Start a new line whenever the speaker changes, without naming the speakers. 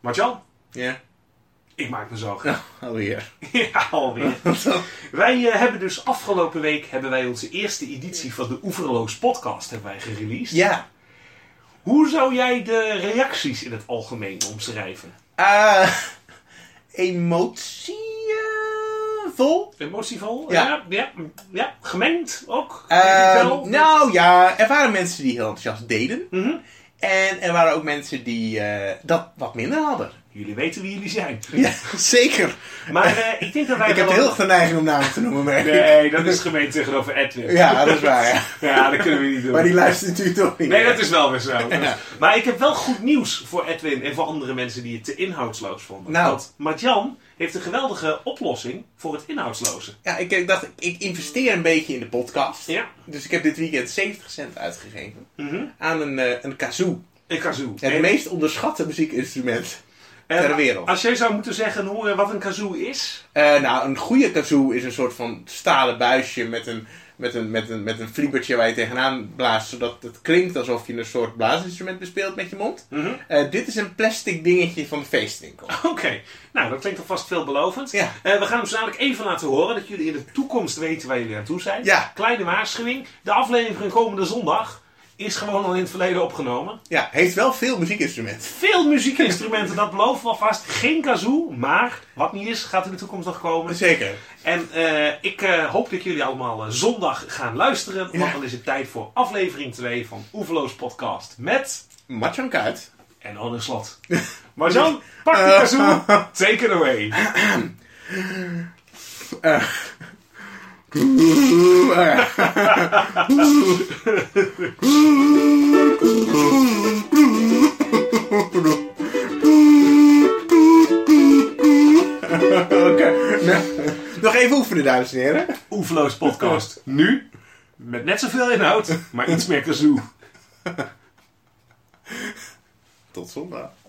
Martjan,
Ja.
ik maak me zorgen.
Nou, alweer.
oh Ja, alweer. Wij eh, hebben dus afgelopen week hebben wij onze eerste editie van de Oeverloos podcast hebben wij gereleased.
ja.
Hoe zou jij de reacties in het algemeen omschrijven?
Eh emotie eh, vol?
Emotievol?
Ja.
Ja, ja, ja. gemengd ook? denk ik
Ehm,
wel.
nou ja, er waren mensen die heel enthousiast deden.
Mhm.
En er waren ook mensen die eh, dat wat minder hadden.
Jullie weten wie jullie zijn.
Ja, zeker.
Maar eh, ik denk dat wij
Ik heb
wel-
heel veel neiging om namen te noemen, merk ik.
Nee, dat is gemeen tegenover Edwin.
Ja, dat is waar. Ja.
Ja, dat kunnen we niet doen.
Maar die luistert natuurlijk toch niet.
Nee, dat is wel weer zo.
Ja.
Maar ik heb wel goed nieuws voor Edwin en voor andere mensen die het te inhoudsloos vonden.
Nou.
Want Martjan heeft een geweldige oplossing voor het inhoudsloze.
Ja, ik, ik dacht, ik investeer een beetje in de podcast.
Ja.
Dus ik heb dit weekend 70 cent uitgegeven aan een, eh, een kazoo.
Mhm. Een kazoo.
Het
En-
meest onderschatte muziekinstrument
en
ter wereld.
Als jij zou moeten zeggen hoe, eh, wat een kazoo is.
Eh, nou, een goede kazoo is een soort van stalen buisje met een, met een, met een, met een fliebertje waar je tegenaan blaast, zodat het klinkt alsof je een soort blaasinstrument bespeelt met je mond. Eh, dit is een plastic dingetje van de feestwinkel.
Oké, nou dat klinkt alvast veelbelovend.
Ja.
Eh, we gaan hem zo dadelijk even laten horen dat jullie in de toekomst weten waar jullie aan toe zijn.
Ja.
Kleine waarschuwing, de aflevering van komende zondag is gewoon al in het verleden opgenomen.
Ja, heeft wel veel muziekinstrumenten.
Veel muziekinstrumenten, dat beloven we vast. Geen kazoo, maar wat niet is, gaat in de toekomst nog komen.
Zeker.
En eh, ik eh, hoop dat jullie allemaal eh, zondag gaan luisteren. Want
Ja.
dan is het tijd voor aflevering 2 van Oeverloos Podcast met...
Matjan Kuit.
En Anne Slot. Maar dan, pak die kazoo, take it away.
Oké. Nou, nog even oefenen, dames en heren.
Oeverloos Podcast, nu met net zoveel inhoud, maar iets meer kazoo.
Tot zondag.